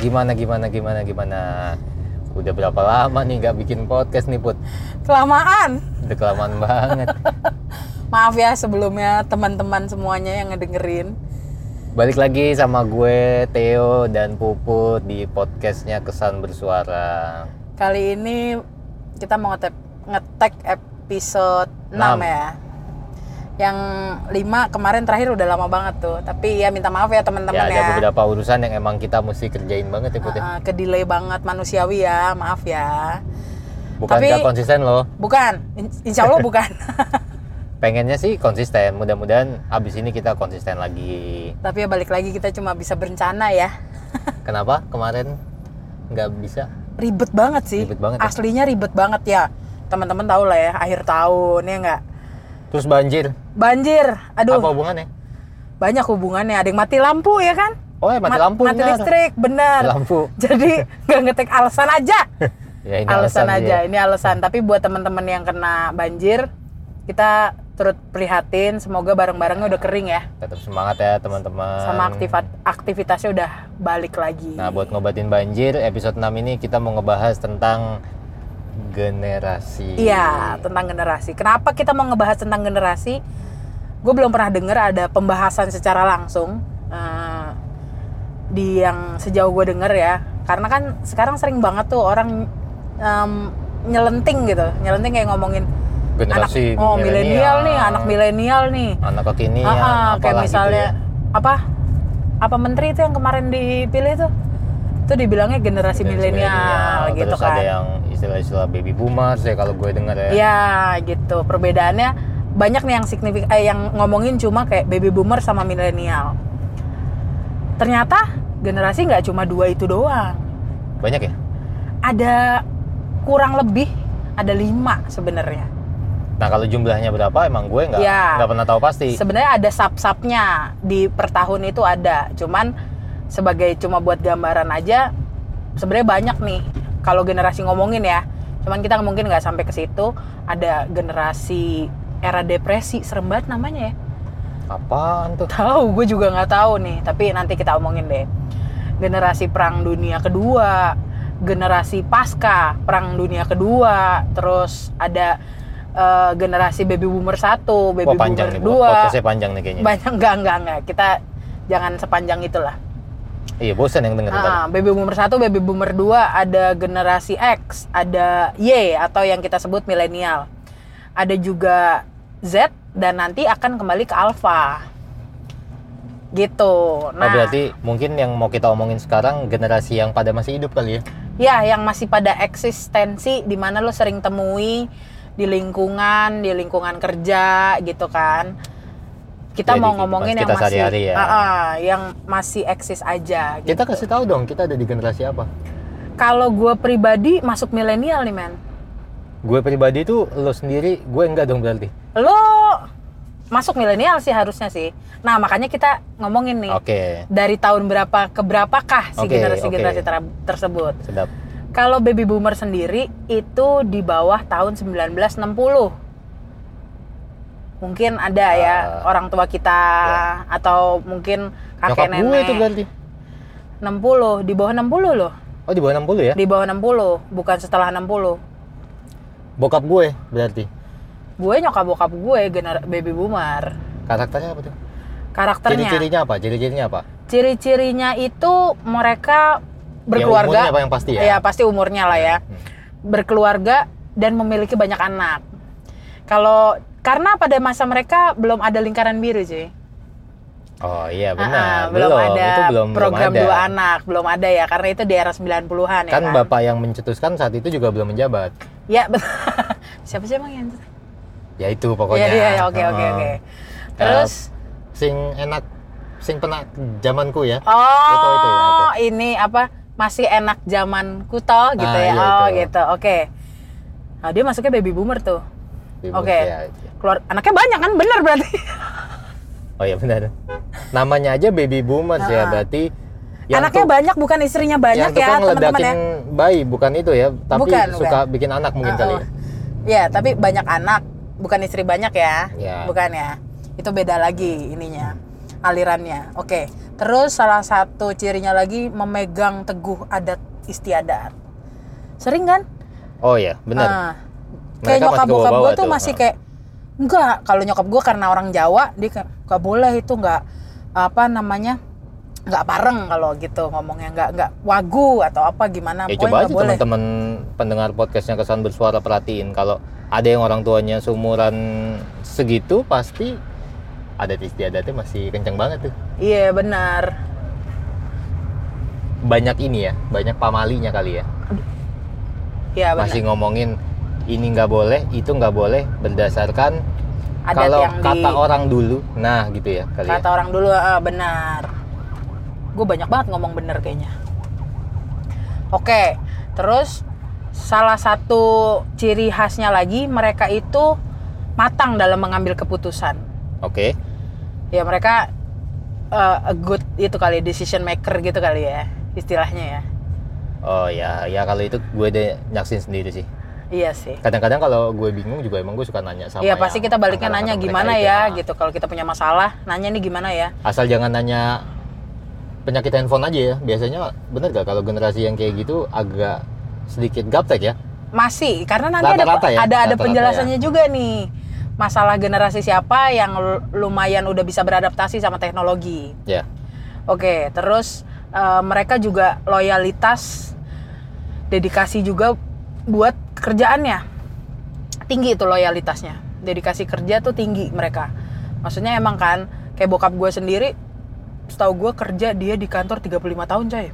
gimana gimana gimana gimana. Udah berapa lama nih nggak bikin podcast nih Put? Kelamaan. Udah kelamaan banget. Maaf ya sebelumnya teman-teman semuanya yang ngedengerin. Balik lagi sama gue Theo dan Puput di podcastnya Kesan Bersuara. Kali ini kita mau ngetek, ngetek episode 6, Enam. ya. Yang 5 kemarin terakhir udah lama banget tuh. Tapi ya minta maaf ya teman-teman ya ya. ada beberapa urusan yang emang kita mesti kerjain banget ya Put. ya. Eh, ke delay banget manusiawi ya, maaf ya. Bukan tapi- nggak konsisten loh. Bukan, In- insya Allah bukan. Pengennya sih konsisten. Mudah-mudahan abis ini kita konsisten lagi. Tapi ya balik lagi kita cuma bisa berencana ya. Kenapa kemarin nggak bisa? Ribet banget sih. Ribet banget ya. Aslinya ribet banget ya. Teman-teman tahu lah ya, akhir tahun ya nggak. Terus banjir. Banjir, aduh Apa hubungannya? banyak hubungannya. Ada yang mati lampu ya kan? Oh ya mati Ma- lampu Mati benar. listrik, benar. Mati lampu. Jadi nggak ngetek alasan aja. Ya ini alasan, alasan aja, dia. ini alasan. Tapi buat teman-teman yang kena banjir, kita turut prihatin. Semoga barang-barangnya udah kering ya. Tetap semangat ya teman-teman. Sama aktivat aktivitasnya udah balik lagi. Nah buat ngobatin banjir episode 6 ini kita mau ngebahas tentang generasi. Iya, tentang generasi. Kenapa kita mau ngebahas tentang generasi? Gue belum pernah dengar ada pembahasan secara langsung eh, di yang sejauh gue denger ya. Karena kan sekarang sering banget tuh orang em, nyelenting gitu, nyelenting kayak ngomongin Generasi anak oh milenial nih, anak milenial nih. Anak kekinian, Ah, ah, kayak apalah misalnya gitu apa? Apa menteri itu yang kemarin dipilih tuh? Itu dibilangnya ya. generasi, Generasi milenial gitu Terus kan. ada yang istilah-istilah baby boomers ya kalau gue dengar ya. Ya gitu. Perbedaannya banyak nih yang signifikan eh, yang ngomongin cuma kayak baby boomer sama milenial. Ternyata generasi nggak cuma dua itu doang. Banyak ya. Ada kurang lebih ada lima sebenarnya. Nah kalau jumlahnya berapa emang gue nggak Ya. nggak pernah tahu pasti. Sebenarnya ada sub-subnya di per tahun itu ada. Cuman sebagai cuma buat gambaran aja sebenarnya banyak nih kalau generasi ngomongin ya. Cuman kita mungkin nggak sampai ke situ. Ada generasi era depresi serem banget namanya ya. Apaan tuh? Tahu, gue juga nggak tahu nih. Tapi nanti kita omongin deh. Generasi Perang Dunia Kedua, generasi pasca Perang Dunia Kedua, terus ada eh, generasi baby boomer satu, baby Wah panjang boomer nih. dua. Podcastnya panjang nih kayaknya. Banyak enggak enggak enggak. Kita jangan sepanjang itulah. Iya bosan yang denger ntar. Ah, baby boomer satu, baby boomer dua, ada generasi X, ada Y atau yang kita sebut milenial. Ada juga Z dan nanti akan kembali ke alfa. Gitu. Oh, Nah, berarti mungkin yang mau kita omongin sekarang generasi yang pada masih hidup kali ya. ya yang masih pada eksistensi di mana lo sering temui di lingkungan, di lingkungan kerja gitu kan. Ya, di Kita mau kehidupan ngomongin yang kita masih sehari-hari ya. Ah, ah, yang masih eksis aja gitu. Kita kasih tahu dong kita ada di generasi apa. Kalau gue pribadi masuk milenial nih, men. Gue pribadi tuh lo sendiri, gue enggak dong berarti. lo masuk milenial sih harusnya sih. Nah makanya kita ngomongin nih Oke, dari tahun berapa ke berapakah si Oke, generasi-generasi oke. ter- tersebut. sedap. Kalau baby boomer sendiri itu di bawah tahun 1960. Mungkin ada ya Ah. Ya. orang tua kita atau mungkin kakek Nyokap gue kan. nenek. tuh berarti. 60 di bawah 60 loh. Oh di bawah 60 ya? Di bawah 60, bukan setelah 60. Bokap gue berarti. Gue nyokap-bokap gue gener- baby boomer. Karakternya apa tuh? Karakternya Ciri-cirinya apa? Ciri-cirinya apa? ciri-cirinya itu mereka Ya, umurnya berkeluarga apa yang pasti ya? ya pasti umurnya lah ya Hmm. berkeluarga dan memiliki banyak anak kalau karena pada masa mereka belum ada lingkaran biru sih Oh iya Ah, benar. ah, belum, ada itu belum program belum ada. dua anak belum ada ya karena itu di era 90-an ya Kan bapak yang mencetuskan saat itu juga belum menjabat. ya betul. siapa sih emang yang Ya itu pokoknya. ah. Eh, Iya, iya, iya, oke oke Heeh. oke terus Sing enak, sing pernah zamanku ya. Itu- Oh, itu ya, itu. ini apa masih enak zaman kuto gitu Ah, iya, ya? oh, itu. gitu. Oke. Nah, dia masuknya baby boomer tuh. Di Oke. Indonesia. Keluar anaknya banyak kan? Bener berarti. iya. Oh iya benar. Namanya aja baby boomers ya, Nah. berarti anaknya tuk- banyak bukan istrinya yang banyak ya, tukang teman-teman ledakin ya. bayi bukan itu ya, tapi Bukan, suka bikin anak mungkin Oh, kali. oh. ya. Iya, tapi banyak anak, bukan istri banyak ya. Iya. Bukan ya. Itu beda lagi ininya. alirannya. Oke. Terus salah satu cirinya lagi memegang teguh adat istiadat. Sering kan? Oh ya, benar. Ah, Mereka kayak masih nyokap bokap kebawa-bawa gue tuh tuh, masih ah. kayak enggak. Kalau nyokap gue karena orang Jawa dia kayak nggak boleh itu nggak apa namanya nggak pareng kalau gitu ngomongnya nggak nggak wagu atau apa gimana ya coba pokoknya nggak aja teman-teman pendengar podcastnya kesan bersuara perhatiin kalau ada yang orang tuanya seumuran segitu pasti adat istiadatnya masih kenceng banget tuh. Iya benar. Banyak ini ya, banyak pamalinya kali ya. Iya benar. Masih ngomongin ini nggak boleh, itu nggak boleh berdasarkan Adat kalau yang di- kata orang dulu. Nah, gitu ya kali ya. Kata orang dulu ah, benar. Gue banyak banget ngomong benar kayaknya. Oke, terus salah satu ciri khasnya lagi mereka itu matang dalam mengambil keputusan. Oke. Ya mereka eh, a good itu kali decision maker gitu kali ya istilahnya ya. Oh ya, ya kalau itu gue deh nyaksin sendiri sih. Iya sih. Kadang-kadang kalau gue bingung juga emang gue suka nanya sama. Iya pasti yang kita baliknya nanya angkatan-angkatan mereka gimana itu. ya Nah, gitu kalau kita punya masalah nanya nih gimana ya. Asal jangan nanya penyakit handphone aja ya. Biasanya bener gak kalau generasi yang kayak gitu agak sedikit gaptek ya? masih karena nanti Rata-rata ada ya? ada ada Rata-rata penjelasannya juga nih masalah generasi siapa yang lu- lumayan udah bisa beradaptasi sama teknologi. Ya. Oke, terus eh, mereka juga loyalitas, dedikasi juga buat kerjaannya tinggi itu loyalitasnya, dedikasi kerja tuh tinggi mereka. Maksudnya emang kan kayak bokap gue sendiri, setahu gue kerja dia di kantor 35 tahun coy.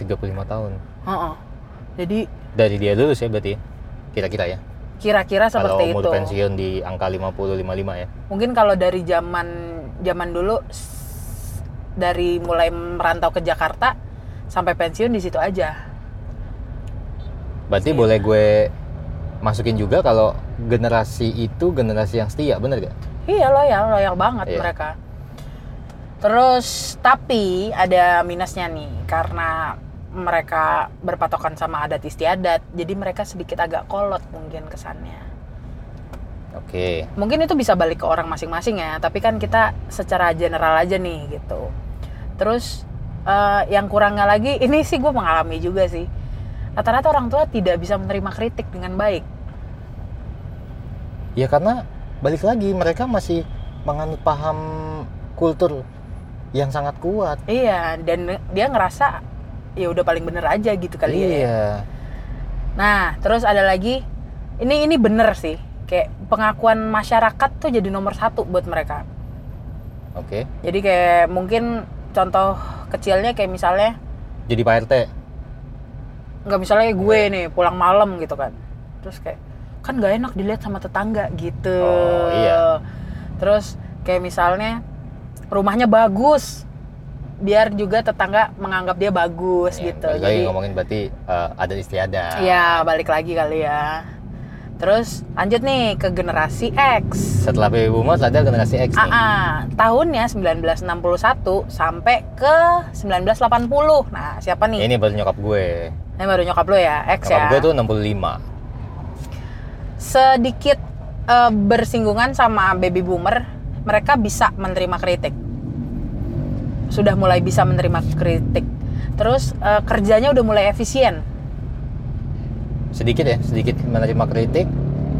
35 tahun. Heeh. Jadi Dari dia lulus ya berarti. ya? Kira-kira ya. kira-kira Kalau seperti umur itu. pensiun di angka 50 55 ya. mungkin kalau dari zaman zaman dulu s- dari mulai merantau ke Jakarta sampai pensiun di situ aja. Berarti Iya. boleh gue masukin juga kalau generasi itu generasi yang setia, bener gak? Iya loyal, loyal banget Iya. mereka. Terus tapi ada minusnya nih karena mereka berpatokan sama adat istiadat, jadi mereka sedikit agak kolot mungkin kesannya. Oke. Mungkin itu bisa balik ke orang masing-masing ya, tapi kan kita secara general aja nih gitu. Terus eh, yang kurangnya lagi, ini sih gue mengalami juga sih. Rata-rata orang tua tidak bisa menerima kritik dengan baik. Ya karena balik lagi mereka masih menganut paham kultur yang sangat kuat. Iya, dan dia ngerasa ya udah paling bener aja gitu kali ya. iya. Nah, terus ada lagi, ini ini bener sih. Kayak pengakuan masyarakat tuh jadi nomor satu buat mereka. Oke. Jadi kayak mungkin contoh kecilnya kayak misalnya, Jadi Pak RT. nggak misalnya gue Iya. nih pulang malam gitu kan. Terus kayak kan nggak enak dilihat sama tetangga gitu. Oh, iya. Terus kayak misalnya rumahnya bagus, biar juga tetangga menganggap dia bagus Ya, gitu. balik lagi ngomongin berarti eh, adat istiadat. Iya, balik lagi kali ya. Terus lanjut nih ke generasi X. Setelah baby boomer ada generasi X nih. AA, Ah, tahunnya 1961 sampai ke 1980. Nah, siapa nih? Ini baru nyokap gue. Ini baru nyokap lo ya, X Nyokap ya. gue tuh 65. Sedikit eh, bersinggungan sama baby boomer, mereka bisa menerima kritik. Sudah mulai bisa menerima kritik. Terus eh, kerjanya udah mulai efisien. Sedikit ya, sedikit menerima kritik,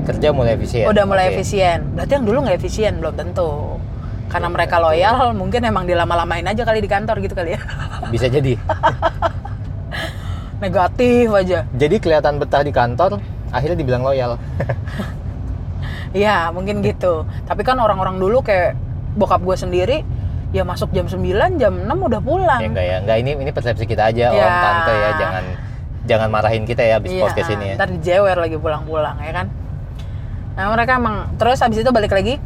kerja mulai efisien. udah mulai Iya, Oke. efisien. Berarti yang dulu nggak efisien belum tentu. Karena Belum mereka tentu. loyal, mungkin emang dilama-lamain aja kali di kantor gitu kali ya. Bisa jadi. Negatif aja. Jadi kelihatan betah di kantor, akhirnya dibilang loyal. Iya, mungkin gitu. Tapi kan orang-orang dulu kayak bokap gue sendiri, ya masuk jam 9, jam 6 udah pulang. Ya enggak ya, enggak ini ini persepsi kita aja Ya. om tante ya, jangan jangan marahin kita ya abis Iya, podcast ini ya. Ntar dijewer lagi pulang-pulang ya kan. Nah, mereka emang terus habis itu balik lagi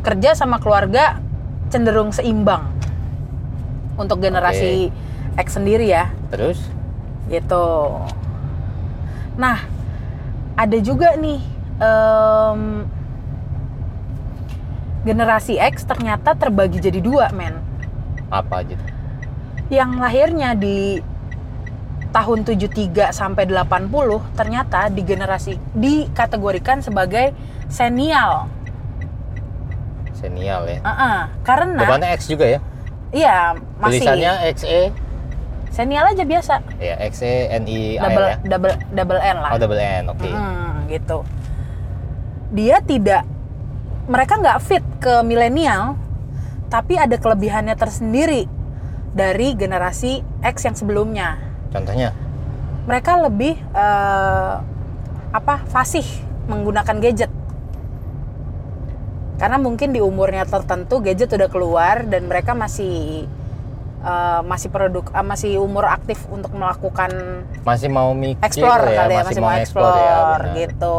kerja sama keluarga cenderung seimbang. Untuk generasi X sendiri ya. Terus gitu. Nah, ada juga nih em, generasi X ternyata terbagi jadi dua, men. apa gitu? Yang lahirnya di tahun 73 sampai 80 ternyata di generasi dikategorikan sebagai senial. senial ya. Heeh, karena Depannya X juga ya. iya Nah. masih Tulisannya XE. senial aja biasa Ya, XE NI double ya. double double N lah. Oh, double N. Oke. Mm, gitu. Dia tidak mereka nggak fit ke milenial, tapi ada kelebihannya tersendiri dari generasi X yang sebelumnya. Contohnya Mereka lebih eh, apa fasih menggunakan gadget. Karena mungkin di umurnya tertentu gadget udah keluar dan mereka masih eh, masih produk eh, masih umur aktif untuk melakukan masih mau mikir explore ya, kali ya masih, mau explore, iya, benar. gitu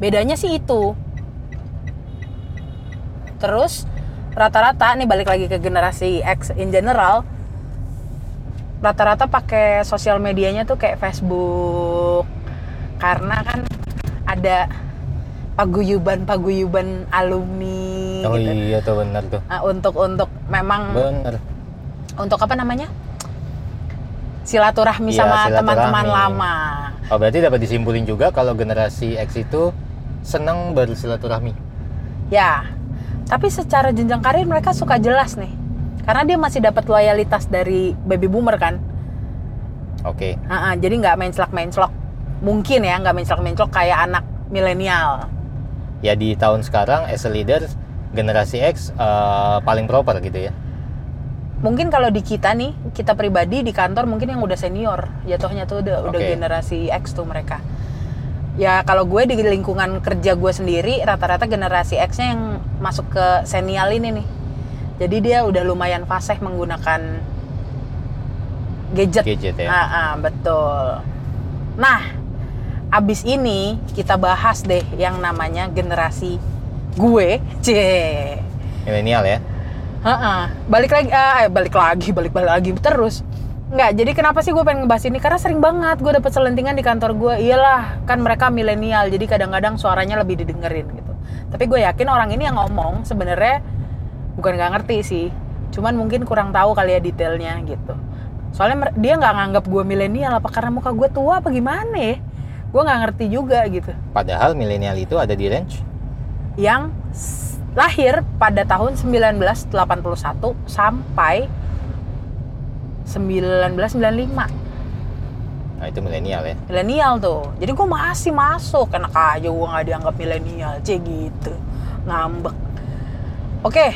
bedanya sih itu terus rata-rata nih balik lagi ke generasi X in general rata-rata pakai sosial medianya tuh kayak Facebook karena kan ada paguyuban-paguyuban alumni Oh gitu. Mm. iya tuh benar tuh. Nah, untuk untuk memang Benar. untuk apa namanya silaturahmi Iya, sama silaturahmi. teman-teman lama Oh, berarti dapat disimpulin juga kalau generasi X itu senang bersilaturahmi. ya tapi secara jenjang karir mereka suka jelas nih karena dia masih dapat loyalitas dari baby boomer kan Oke. Ha-ha, jadi nggak menclok menclok mungkin ya nggak menclok menclok kayak anak milenial Ya di tahun sekarang as a leader generasi X eh, paling proper gitu ya. mungkin kalau di kita nih kita pribadi di kantor mungkin yang udah senior jatuhnya tuh udah, udah Oke. generasi X tuh mereka ya kalau gue di lingkungan kerja gue sendiri rata-rata generasi X-nya yang masuk ke senial ini nih jadi dia udah lumayan fasih menggunakan gadget Gadget ya. Ah, ah, betul nah abis ini kita bahas deh yang namanya generasi gue c Milenial ya. Heeh. Balik lagi, eh balik lagi, balik balik lagi terus. Nggak, jadi kenapa sih gue pengen ngebahas ini? Karena sering banget gue dapet selentingan di kantor gue. Iyalah, kan mereka milenial, jadi kadang-kadang suaranya lebih didengerin gitu. Tapi gue yakin orang ini yang ngomong sebenarnya bukan nggak ngerti sih, cuman mungkin kurang tahu kali ya detailnya gitu. Soalnya mer- dia nggak nganggap gue milenial apa karena muka gue tua apa gimana ya? Gue nggak ngerti juga gitu. Padahal milenial itu ada di range yang s- lahir pada tahun 1981 sampai 1995 Nah, itu milenial ya. milenial tuh jadi gue masih masuk enak aja gue nggak dianggap milenial c gitu ngambek oke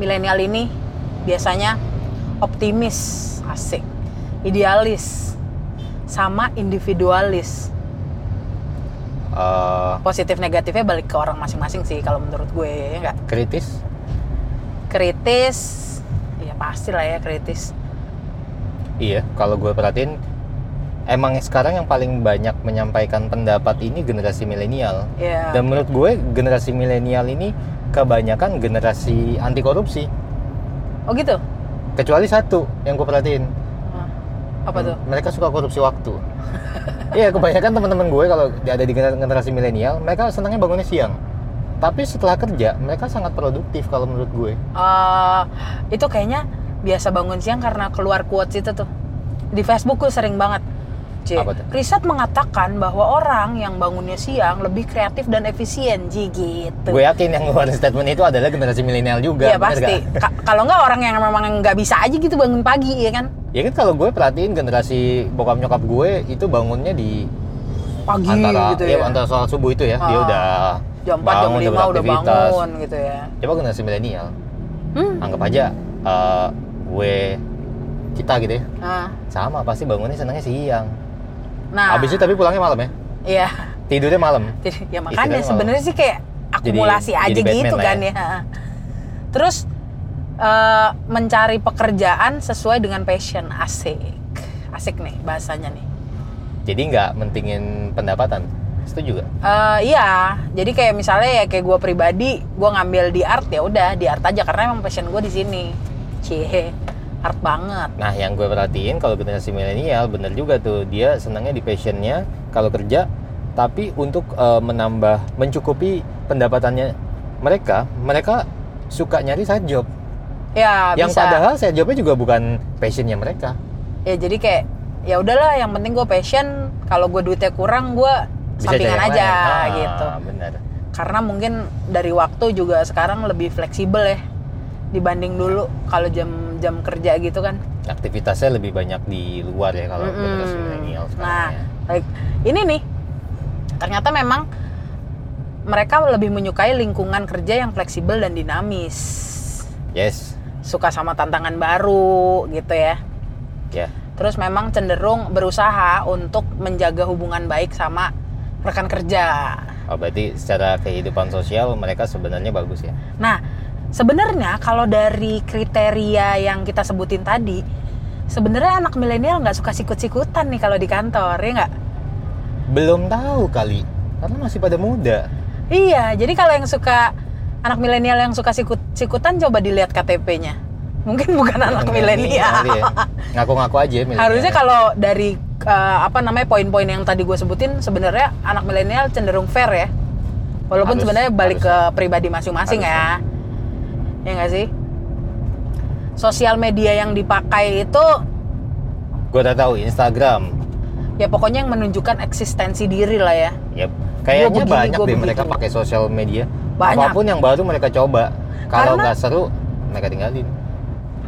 milenial ini biasanya optimis asik idealis sama individualis Eh, positif negatifnya balik ke orang masing-masing sih kalau menurut gue ya nggak? kritis kritis ya pasti lah ya kritis Iya, kalau gue perhatiin emang sekarang yang paling banyak menyampaikan pendapat ini generasi milenial. ya Dan menurut gue generasi milenial ini kebanyakan generasi anti korupsi, oh gitu kecuali satu yang gue perhatiin. apa Hmm. tuh Mereka suka korupsi waktu. Iya, kebanyakan teman-teman gue kalau ada di gener- generasi milenial, mereka senangnya bangunnya siang. Tapi setelah kerja, mereka sangat produktif kalau menurut gue. Eh, itu kayaknya biasa bangun siang karena keluar quotes itu tuh di Facebook gue sering banget C. Apa tuh? riset mengatakan bahwa orang yang bangunnya siang lebih kreatif dan efisien Ji, gitu Gue yakin yang ngeluarin statement itu adalah generasi milenial juga. Iya bener pasti. nggak? Ka- kalau nggak orang yang memang nggak bisa aja gitu bangun pagi ya kan? Ya kan kalau gue perhatiin generasi bokap nyokap gue itu bangunnya di Pagi antara gitu ya, ya. antara soal subuh itu ya dia Ah. udah jam 4, jam bangun, 5 udah udah beraktivitas. bangun gitu ya. coba generasi milenial Hmm. anggap aja eh, gue kita gitu ya Nah, sama pasti bangunnya senangnya siang nah. habis itu tapi pulangnya malam ya Iya. tidurnya malam Jadi ya makanya Istilahnya sebenarnya sih kayak akumulasi Iya oh. jadi aja Batman gitu lah kan ya. Terus eh, mencari pekerjaan sesuai dengan passion asik. Asik nih bahasanya nih. jadi nggak mentingin pendapatan setuju juga Eh, iya, jadi kayak misalnya ya kayak gue pribadi, gue ngambil di art ya udah di art aja karena emang passion gue di sini. Cie, art banget. nah yang gue perhatiin kalau generasi milenial bener juga tuh dia senangnya di passionnya kalau kerja tapi untuk eh, menambah mencukupi pendapatannya mereka mereka suka nyari side job Ya yang bisa. padahal saya jawabnya juga bukan passionnya mereka Ya jadi kayak ya udahlah yang penting gue passion. Kalau gue duitnya kurang gue cari sampingan yang aja lain. Ah, gitu. benar karena mungkin dari waktu juga sekarang lebih fleksibel ya dibanding dulu kalau jam jam kerja gitu kan aktivitasnya lebih banyak di luar ya kalau Mm-mm. generasi milenial nah sekarang ya. baik. ini nih ternyata memang mereka lebih menyukai lingkungan kerja yang fleksibel dan dinamis yes suka sama tantangan baru gitu ya ya terus memang cenderung berusaha untuk menjaga hubungan baik sama rekan kerja Oh, berarti secara kehidupan sosial mereka sebenarnya bagus ya Nah, sebenarnya kalau dari kriteria yang kita sebutin tadi, sebenarnya anak milenial nggak suka sikut-sikutan nih kalau di kantor, ya nggak? belum tahu kali karena masih pada muda Iya, jadi kalau yang suka anak milenial yang suka sikut-sikutan coba dilihat KTP-nya. Mungkin Iya, bukan anak milenial. ya. ngaku-ngaku aja milenial Harusnya kalau dari eh, apa namanya poin-poin yang tadi gue sebutin sebenarnya anak milenial cenderung fair ya. Walaupun Harus, sebenarnya balik harus. ke pribadi masing-masing Harus, ya. Ya nggak sih? Sosial media yang dipakai itu gue udah tahu Instagram ya pokoknya yang menunjukkan eksistensi diri lah ya. Yep. kayaknya begini, banyak gua deh mereka begitu. pakai sosial media Banyak. apapun yang baru mereka coba kalau Karena- nggak seru mereka tinggalin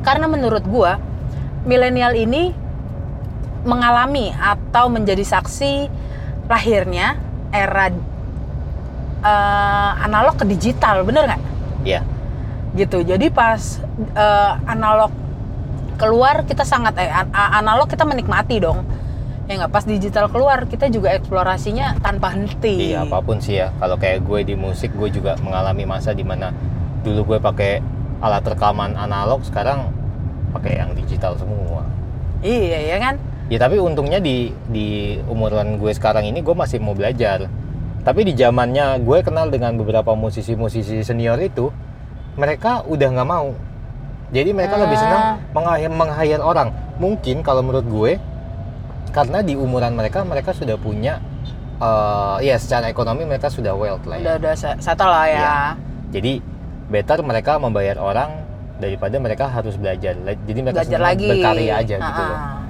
Karena menurut gua milenial ini mengalami atau menjadi saksi lahirnya era eh, analog ke digital, bener nggak? ya gitu jadi pas eh, analog keluar kita sangat eh, an- a- analog kita menikmati dong ya nggak pas digital keluar kita juga eksplorasinya tanpa henti Iya apapun sih ya. Kalau kayak gue di musik, gue juga mengalami masa dimana dulu gue pakai alat rekaman analog, sekarang pakai yang digital semua. iya ya kan Ya tapi untungnya di di umuran gue sekarang ini gue masih mau belajar. Tapi di zamannya gue kenal dengan beberapa musisi-musisi senior itu, mereka udah nggak mau. Jadi mereka lebih Ah. senang meng- meng-hire orang. Mungkin kalau menurut gue, karena di umuran mereka mereka sudah punya, eh, ya secara ekonomi mereka sudah wealth lah. ya. udah udah se- settle lah ya Iya. Jadi better mereka membayar orang daripada mereka harus belajar. La- Jadi mereka belajar senang lagi berkarya aja gitu Ah, loh. ah.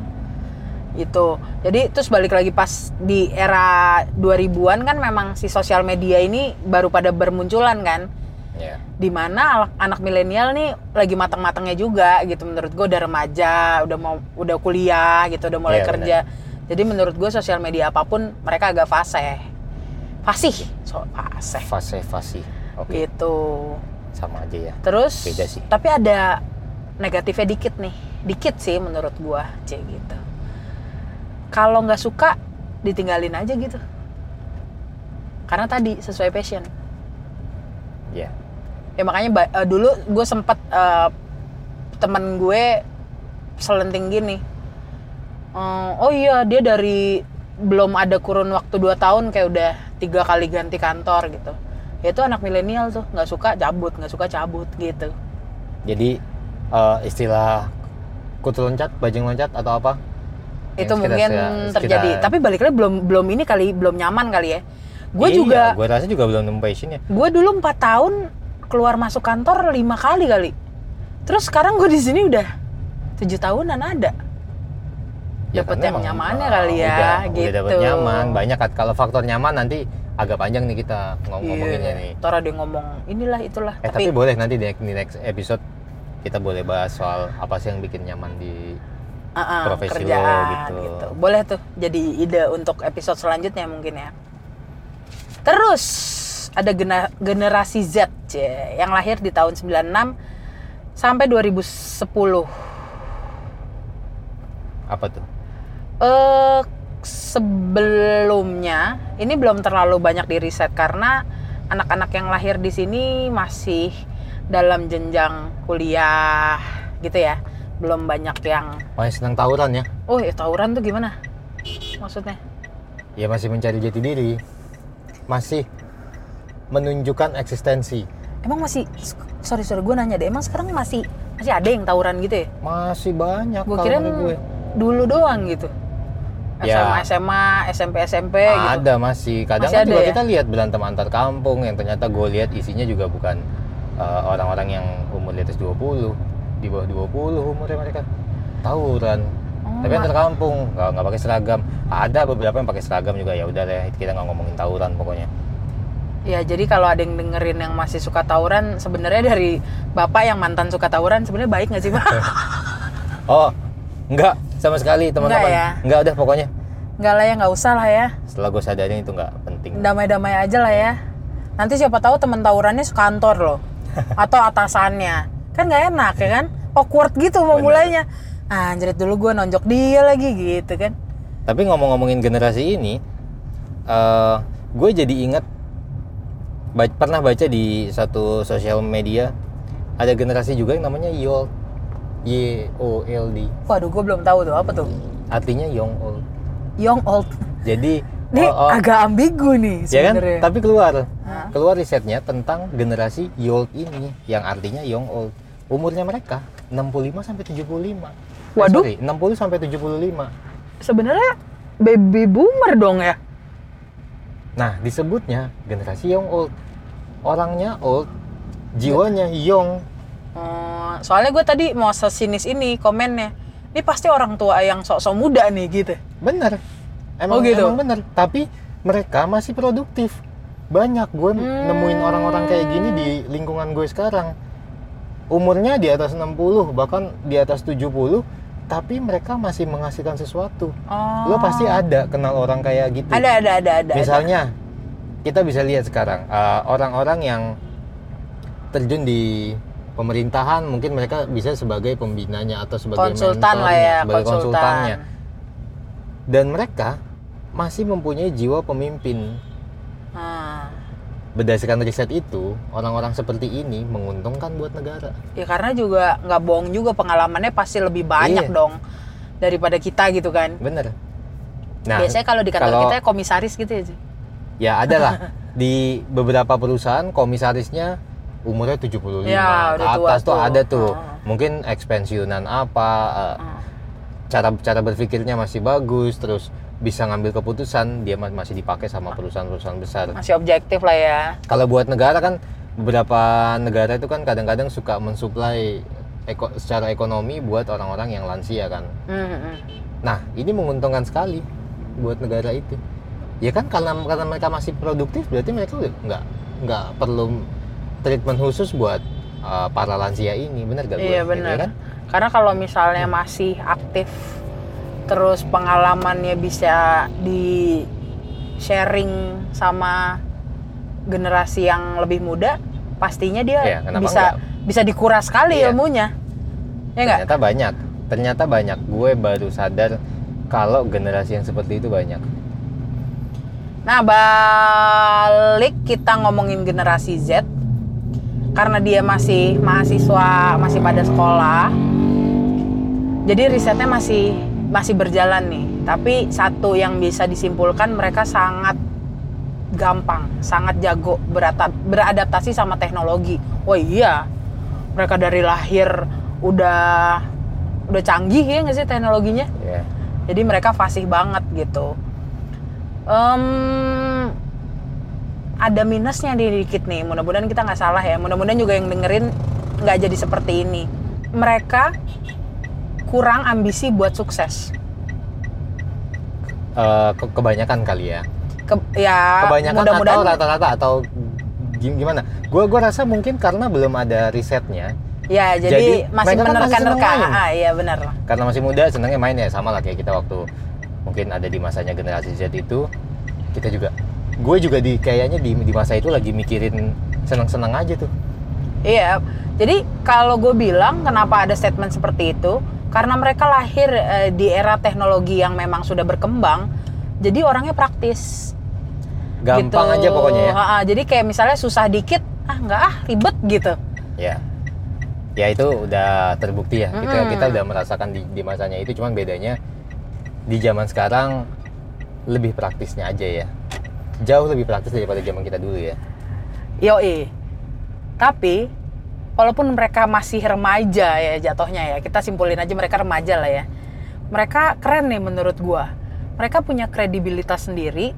Gitu. jadi terus balik lagi pas di era 2000-an kan memang si sosial media ini baru pada bermunculan kan Ya. dimana anak milenial nih lagi matang-matangnya juga gitu menurut gue udah remaja udah mau udah kuliah gitu udah mulai Iya, kerja jadi menurut gue sosial media apapun mereka agak fase fasih so fasih Fase fase. Oke, gitu sama aja ya. terus Beda sih. tapi ada negatifnya dikit nih dikit sih menurut gue c gitu kalau nggak suka ditinggalin aja gitu karena tadi sesuai passion Ya. ya makanya ba- eh, dulu gue sempet eh, temen gue selenting gini Ehm, oh iya dia dari belum ada kurun waktu 2 tahun kayak udah tiga kali ganti kantor gitu ya itu anak milenial tuh nggak suka cabut nggak suka cabut gitu Jadi eh, istilah kutu loncat, bajing loncat atau apa? Yang itu Ya, sekitar- mungkin sekitar- terjadi tapi balik lagi belum belum ini kali belum nyaman kali ya gue Iya, juga gue rasa juga belum nemu passionnya. gue dulu 4 tahun keluar masuk kantor lima kali kali terus sekarang gue di sini udah tujuh tahunan ada Ya, Dapet karena yang emang, nyamannya eh, kali ya, udah, Udah dapet gitu. nyaman, banyak kan. Kalau faktor nyaman nanti agak panjang nih kita ngom- ngomonginnya nih. Iya. Ntar ada yang ngomong inilah itulah. Oh, Eh tapi, boleh nanti di, di next episode kita boleh bahas soal apa sih yang bikin nyaman di uh-uh, profesi lo kerjaan gitu. Boleh tuh jadi ide untuk episode selanjutnya mungkin ya. Terus ada gena- generasi Z cie, yang lahir di tahun 96 sampai 2010. apa tuh? Eh sebelumnya ini belum terlalu banyak di riset karena anak-anak yang lahir di sini masih dalam jenjang kuliah gitu ya. Belum banyak yang Masih senang tawuran ya? Oh, ya tawuran tuh gimana? Maksudnya? Ya masih mencari jati diri, masih menunjukkan eksistensi, Emang masih sorry sorry gue nanya deh, emang sekarang masih masih ada yang tawuran gitu ya? masih banyak. Gue kalau kira menurut gue. dulu doang gitu. Ya. SMA SMA SMP SMP gitu. ada masih. Kadang Masih kan ada juga ya? kita lihat berantem antar kampung yang ternyata gue lihat isinya juga bukan eh, orang-orang yang umur di atas 20, di bawah 20 umurnya mereka tawuran. Oh, tapi ma- antar kampung nggak nggak pakai seragam ada beberapa yang pakai seragam juga ya udah deh kita nggak ngomongin tawuran pokoknya Ya jadi kalau ada yang dengerin yang masih suka tawuran, sebenarnya dari bapak yang mantan suka tawuran sebenarnya baik nggak sih pak? Oh, enggak sama sekali teman-teman. Enggak ya? enggak udah pokoknya nggak lah ya nggak usah lah ya, setelah gue sadarin itu enggak penting. damai-damai aja lah ya. Nanti siapa tahu temen tawurannya sekantor loh, atau atasannya, kan nggak enak ya kan? Awkward gitu mau Bener. mulainya. Anjrit dulu gue nonjok dia lagi gitu kan? Tapi ngomong-ngomongin generasi ini, eh gue jadi ingat ba- pernah baca di satu sosial media ada generasi juga yang namanya YOLD. Y O L D. Waduh gue belum tahu tuh apa tuh. Artinya young old. Young old. Jadi Nih oh, oh, agak ambigu nih ya kan? sebenarnya. Tapi keluar. Hah? Keluar risetnya tentang generasi YOLD ini yang artinya young old. Umurnya mereka 65 sampai 75. Eh, Waduh. sorry, 60 sampai 75. Sebenarnya baby boomer dong ya. Nah, disebutnya generasi young old. Orangnya old, jiwanya young. Oh, soalnya gue tadi mau sesinis ini komennya. Ini pasti orang tua yang sok-sok muda nih gitu. Bener. Emang, Oh, gitu? emang bener. Tapi mereka masih produktif. Banyak gue Hmm. nemuin orang-orang kayak gini di lingkungan gue sekarang. Umurnya di atas 60, bahkan di atas 70, tapi mereka masih menghasilkan sesuatu. Oh. Lo pasti ada kenal orang kayak gitu. Ada ada ada ada. Misalnya, kita bisa lihat sekarang eh, orang-orang yang terjun di pemerintahan mungkin mereka bisa sebagai pembinanya atau ada. sebagai konsultan lah mentornya, ya, sebagai konsultan. konsultannya. Dan mereka masih mempunyai jiwa pemimpin. Ah, Berdasarkan riset itu, orang-orang seperti ini menguntungkan buat negara. ya karena juga nggak bohong juga pengalamannya pasti lebih Iya. banyak dong daripada kita gitu kan. Bener. Nah, Biasanya kalau di kantor kalau- kita komisaris gitu ya. Ci? ya adalah di beberapa perusahaan komisarisnya umurnya 75 Ya, ke udah tua atas tuh tuh. ada tuh. Ah. Mungkin ekspensiunan apa, eh, Ah. cara cara berpikirnya masih bagus terus bisa ngambil keputusan dia ma- masih dipakai sama perusahaan-perusahaan besar Masih objektif lah ya. kalau buat negara kan beberapa negara itu kan kadang-kadang suka mensuplai eko- secara ekonomi buat orang-orang yang lansia kan Hmm, hmm. nah ini menguntungkan sekali buat negara itu ya kan karena karena mereka masih produktif berarti mereka udah nggak nggak perlu treatment khusus buat uh, para lansia ini benar gak Iya benar. kan? Karena kalau misalnya masih aktif terus pengalamannya bisa di sharing sama generasi yang lebih muda, pastinya Iya, dia kenapa bisa bisa dikuras sekali Iya. ilmunya. Ya enggak? Ternyata banyak. Ternyata banyak. Gue baru sadar kalau generasi yang seperti itu banyak. Nah, balik kita ngomongin generasi Z karena dia masih mahasiswa, masih pada sekolah. Jadi risetnya masih masih berjalan nih. Tapi satu yang bisa disimpulkan mereka sangat gampang, sangat jago berata- beradaptasi sama teknologi. Wah, iya. Mereka dari lahir udah udah canggih ya nggak sih teknologinya? Ya. jadi mereka fasih banget gitu Em, ada minusnya di- dikit nih mudah-mudahan kita nggak salah ya mudah-mudahan juga yang dengerin nggak jadi seperti ini mereka kurang ambisi buat sukses Eh, ke- kebanyakan kali ya. Ke- ya Kebanyakan atau mudah-mudahan rata-rata atau gim- gimana? Gue gua rasa mungkin karena belum ada risetnya, ya jadi, Jadi, mereka kan masih masih menerka-nerka seneng main. ah iya benar lah karena masih muda senangnya main ya sama lah kayak kita waktu mungkin ada di masanya generasi Z itu kita juga gue juga di kayaknya di, di masa itu lagi mikirin senang-senang aja tuh Iya, jadi kalau gue bilang kenapa ada statement seperti itu, karena mereka lahir eh, di era teknologi yang memang sudah berkembang, jadi orangnya praktis. gampang aja gitu. pokoknya ya Ha-ha, jadi kayak misalnya susah dikit, ah nggak ah ribet gitu. ya ya itu udah terbukti ya kita Mm-mm. kita udah merasakan di, di masanya itu cuman bedanya di zaman sekarang lebih praktisnya aja ya jauh lebih praktis daripada zaman kita dulu ya Yoi. Tapi walaupun mereka masih remaja ya jatuhnya ya, kita simpulin aja mereka remaja lah ya. Mereka keren nih menurut gua. Mereka punya kredibilitas sendiri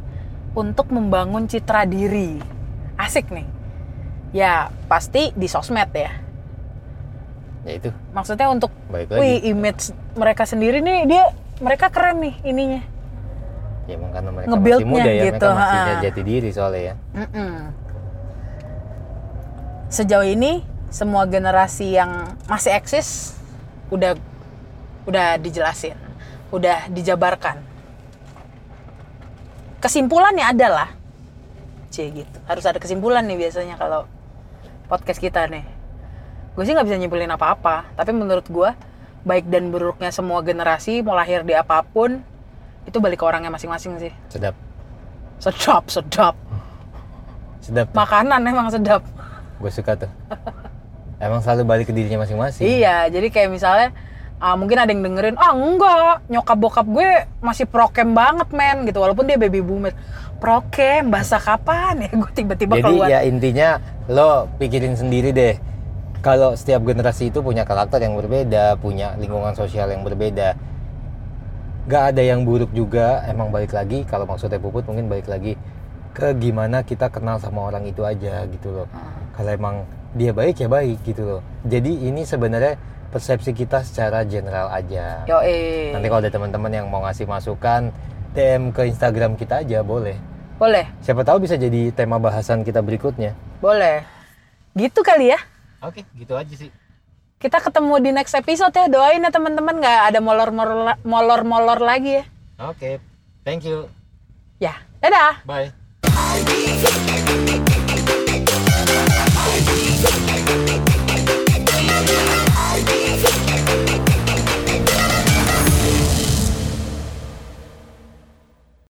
untuk membangun citra diri. Asik nih. Ya, pasti di sosmed ya. ya itu Maksudnya untuk baik wih lagi image mereka sendiri nih dia mereka keren nih ininya. ya emang karena mereka masih nge-build-nya muda ya gitu, mereka masih ha. jati diri soalnya ya Mm-mm. sejauh ini semua generasi yang masih eksis udah udah dijelasin, udah dijabarkan. Kesimpulannya adalah C gitu. Harus ada kesimpulan nih biasanya kalau podcast kita nih. Gue sih nggak bisa nyimpulin apa-apa, tapi menurut gue baik dan buruknya semua generasi mau lahir di apapun itu balik ke orangnya masing-masing sih. sedap Sedap, sedap. sedap Makanan emang sedap. gue suka tuh emang selalu balik ke dirinya masing-masing Iya, jadi kayak misalnya ah, mungkin ada yang dengerin, ah enggak, nyokap bokap gue masih prokem banget men gitu, walaupun dia baby boomer. Prokem, bahasa kapan ya? Gue tiba-tiba jadi keluar. ya intinya lo pikirin sendiri deh kalau setiap generasi itu punya karakter yang berbeda punya lingkungan sosial yang berbeda gak ada yang buruk juga emang balik lagi kalau maksudnya puput mungkin balik lagi ke gimana kita kenal sama orang itu aja gitu loh kalau emang dia baik ya baik gitu loh jadi ini sebenarnya persepsi kita secara general aja Yo eh, nanti kalau ada teman-teman yang mau ngasih masukan DM ke Instagram kita aja boleh boleh, siapa tahu bisa jadi tema bahasan kita berikutnya boleh. Gitu kali ya. Oke, gitu aja sih. Kita ketemu di next episode ya. Doain ya teman-teman nggak ada molor-molor molor-molor lagi ya. Oke, thank you. Ya, dadah. Bye. I'll be here.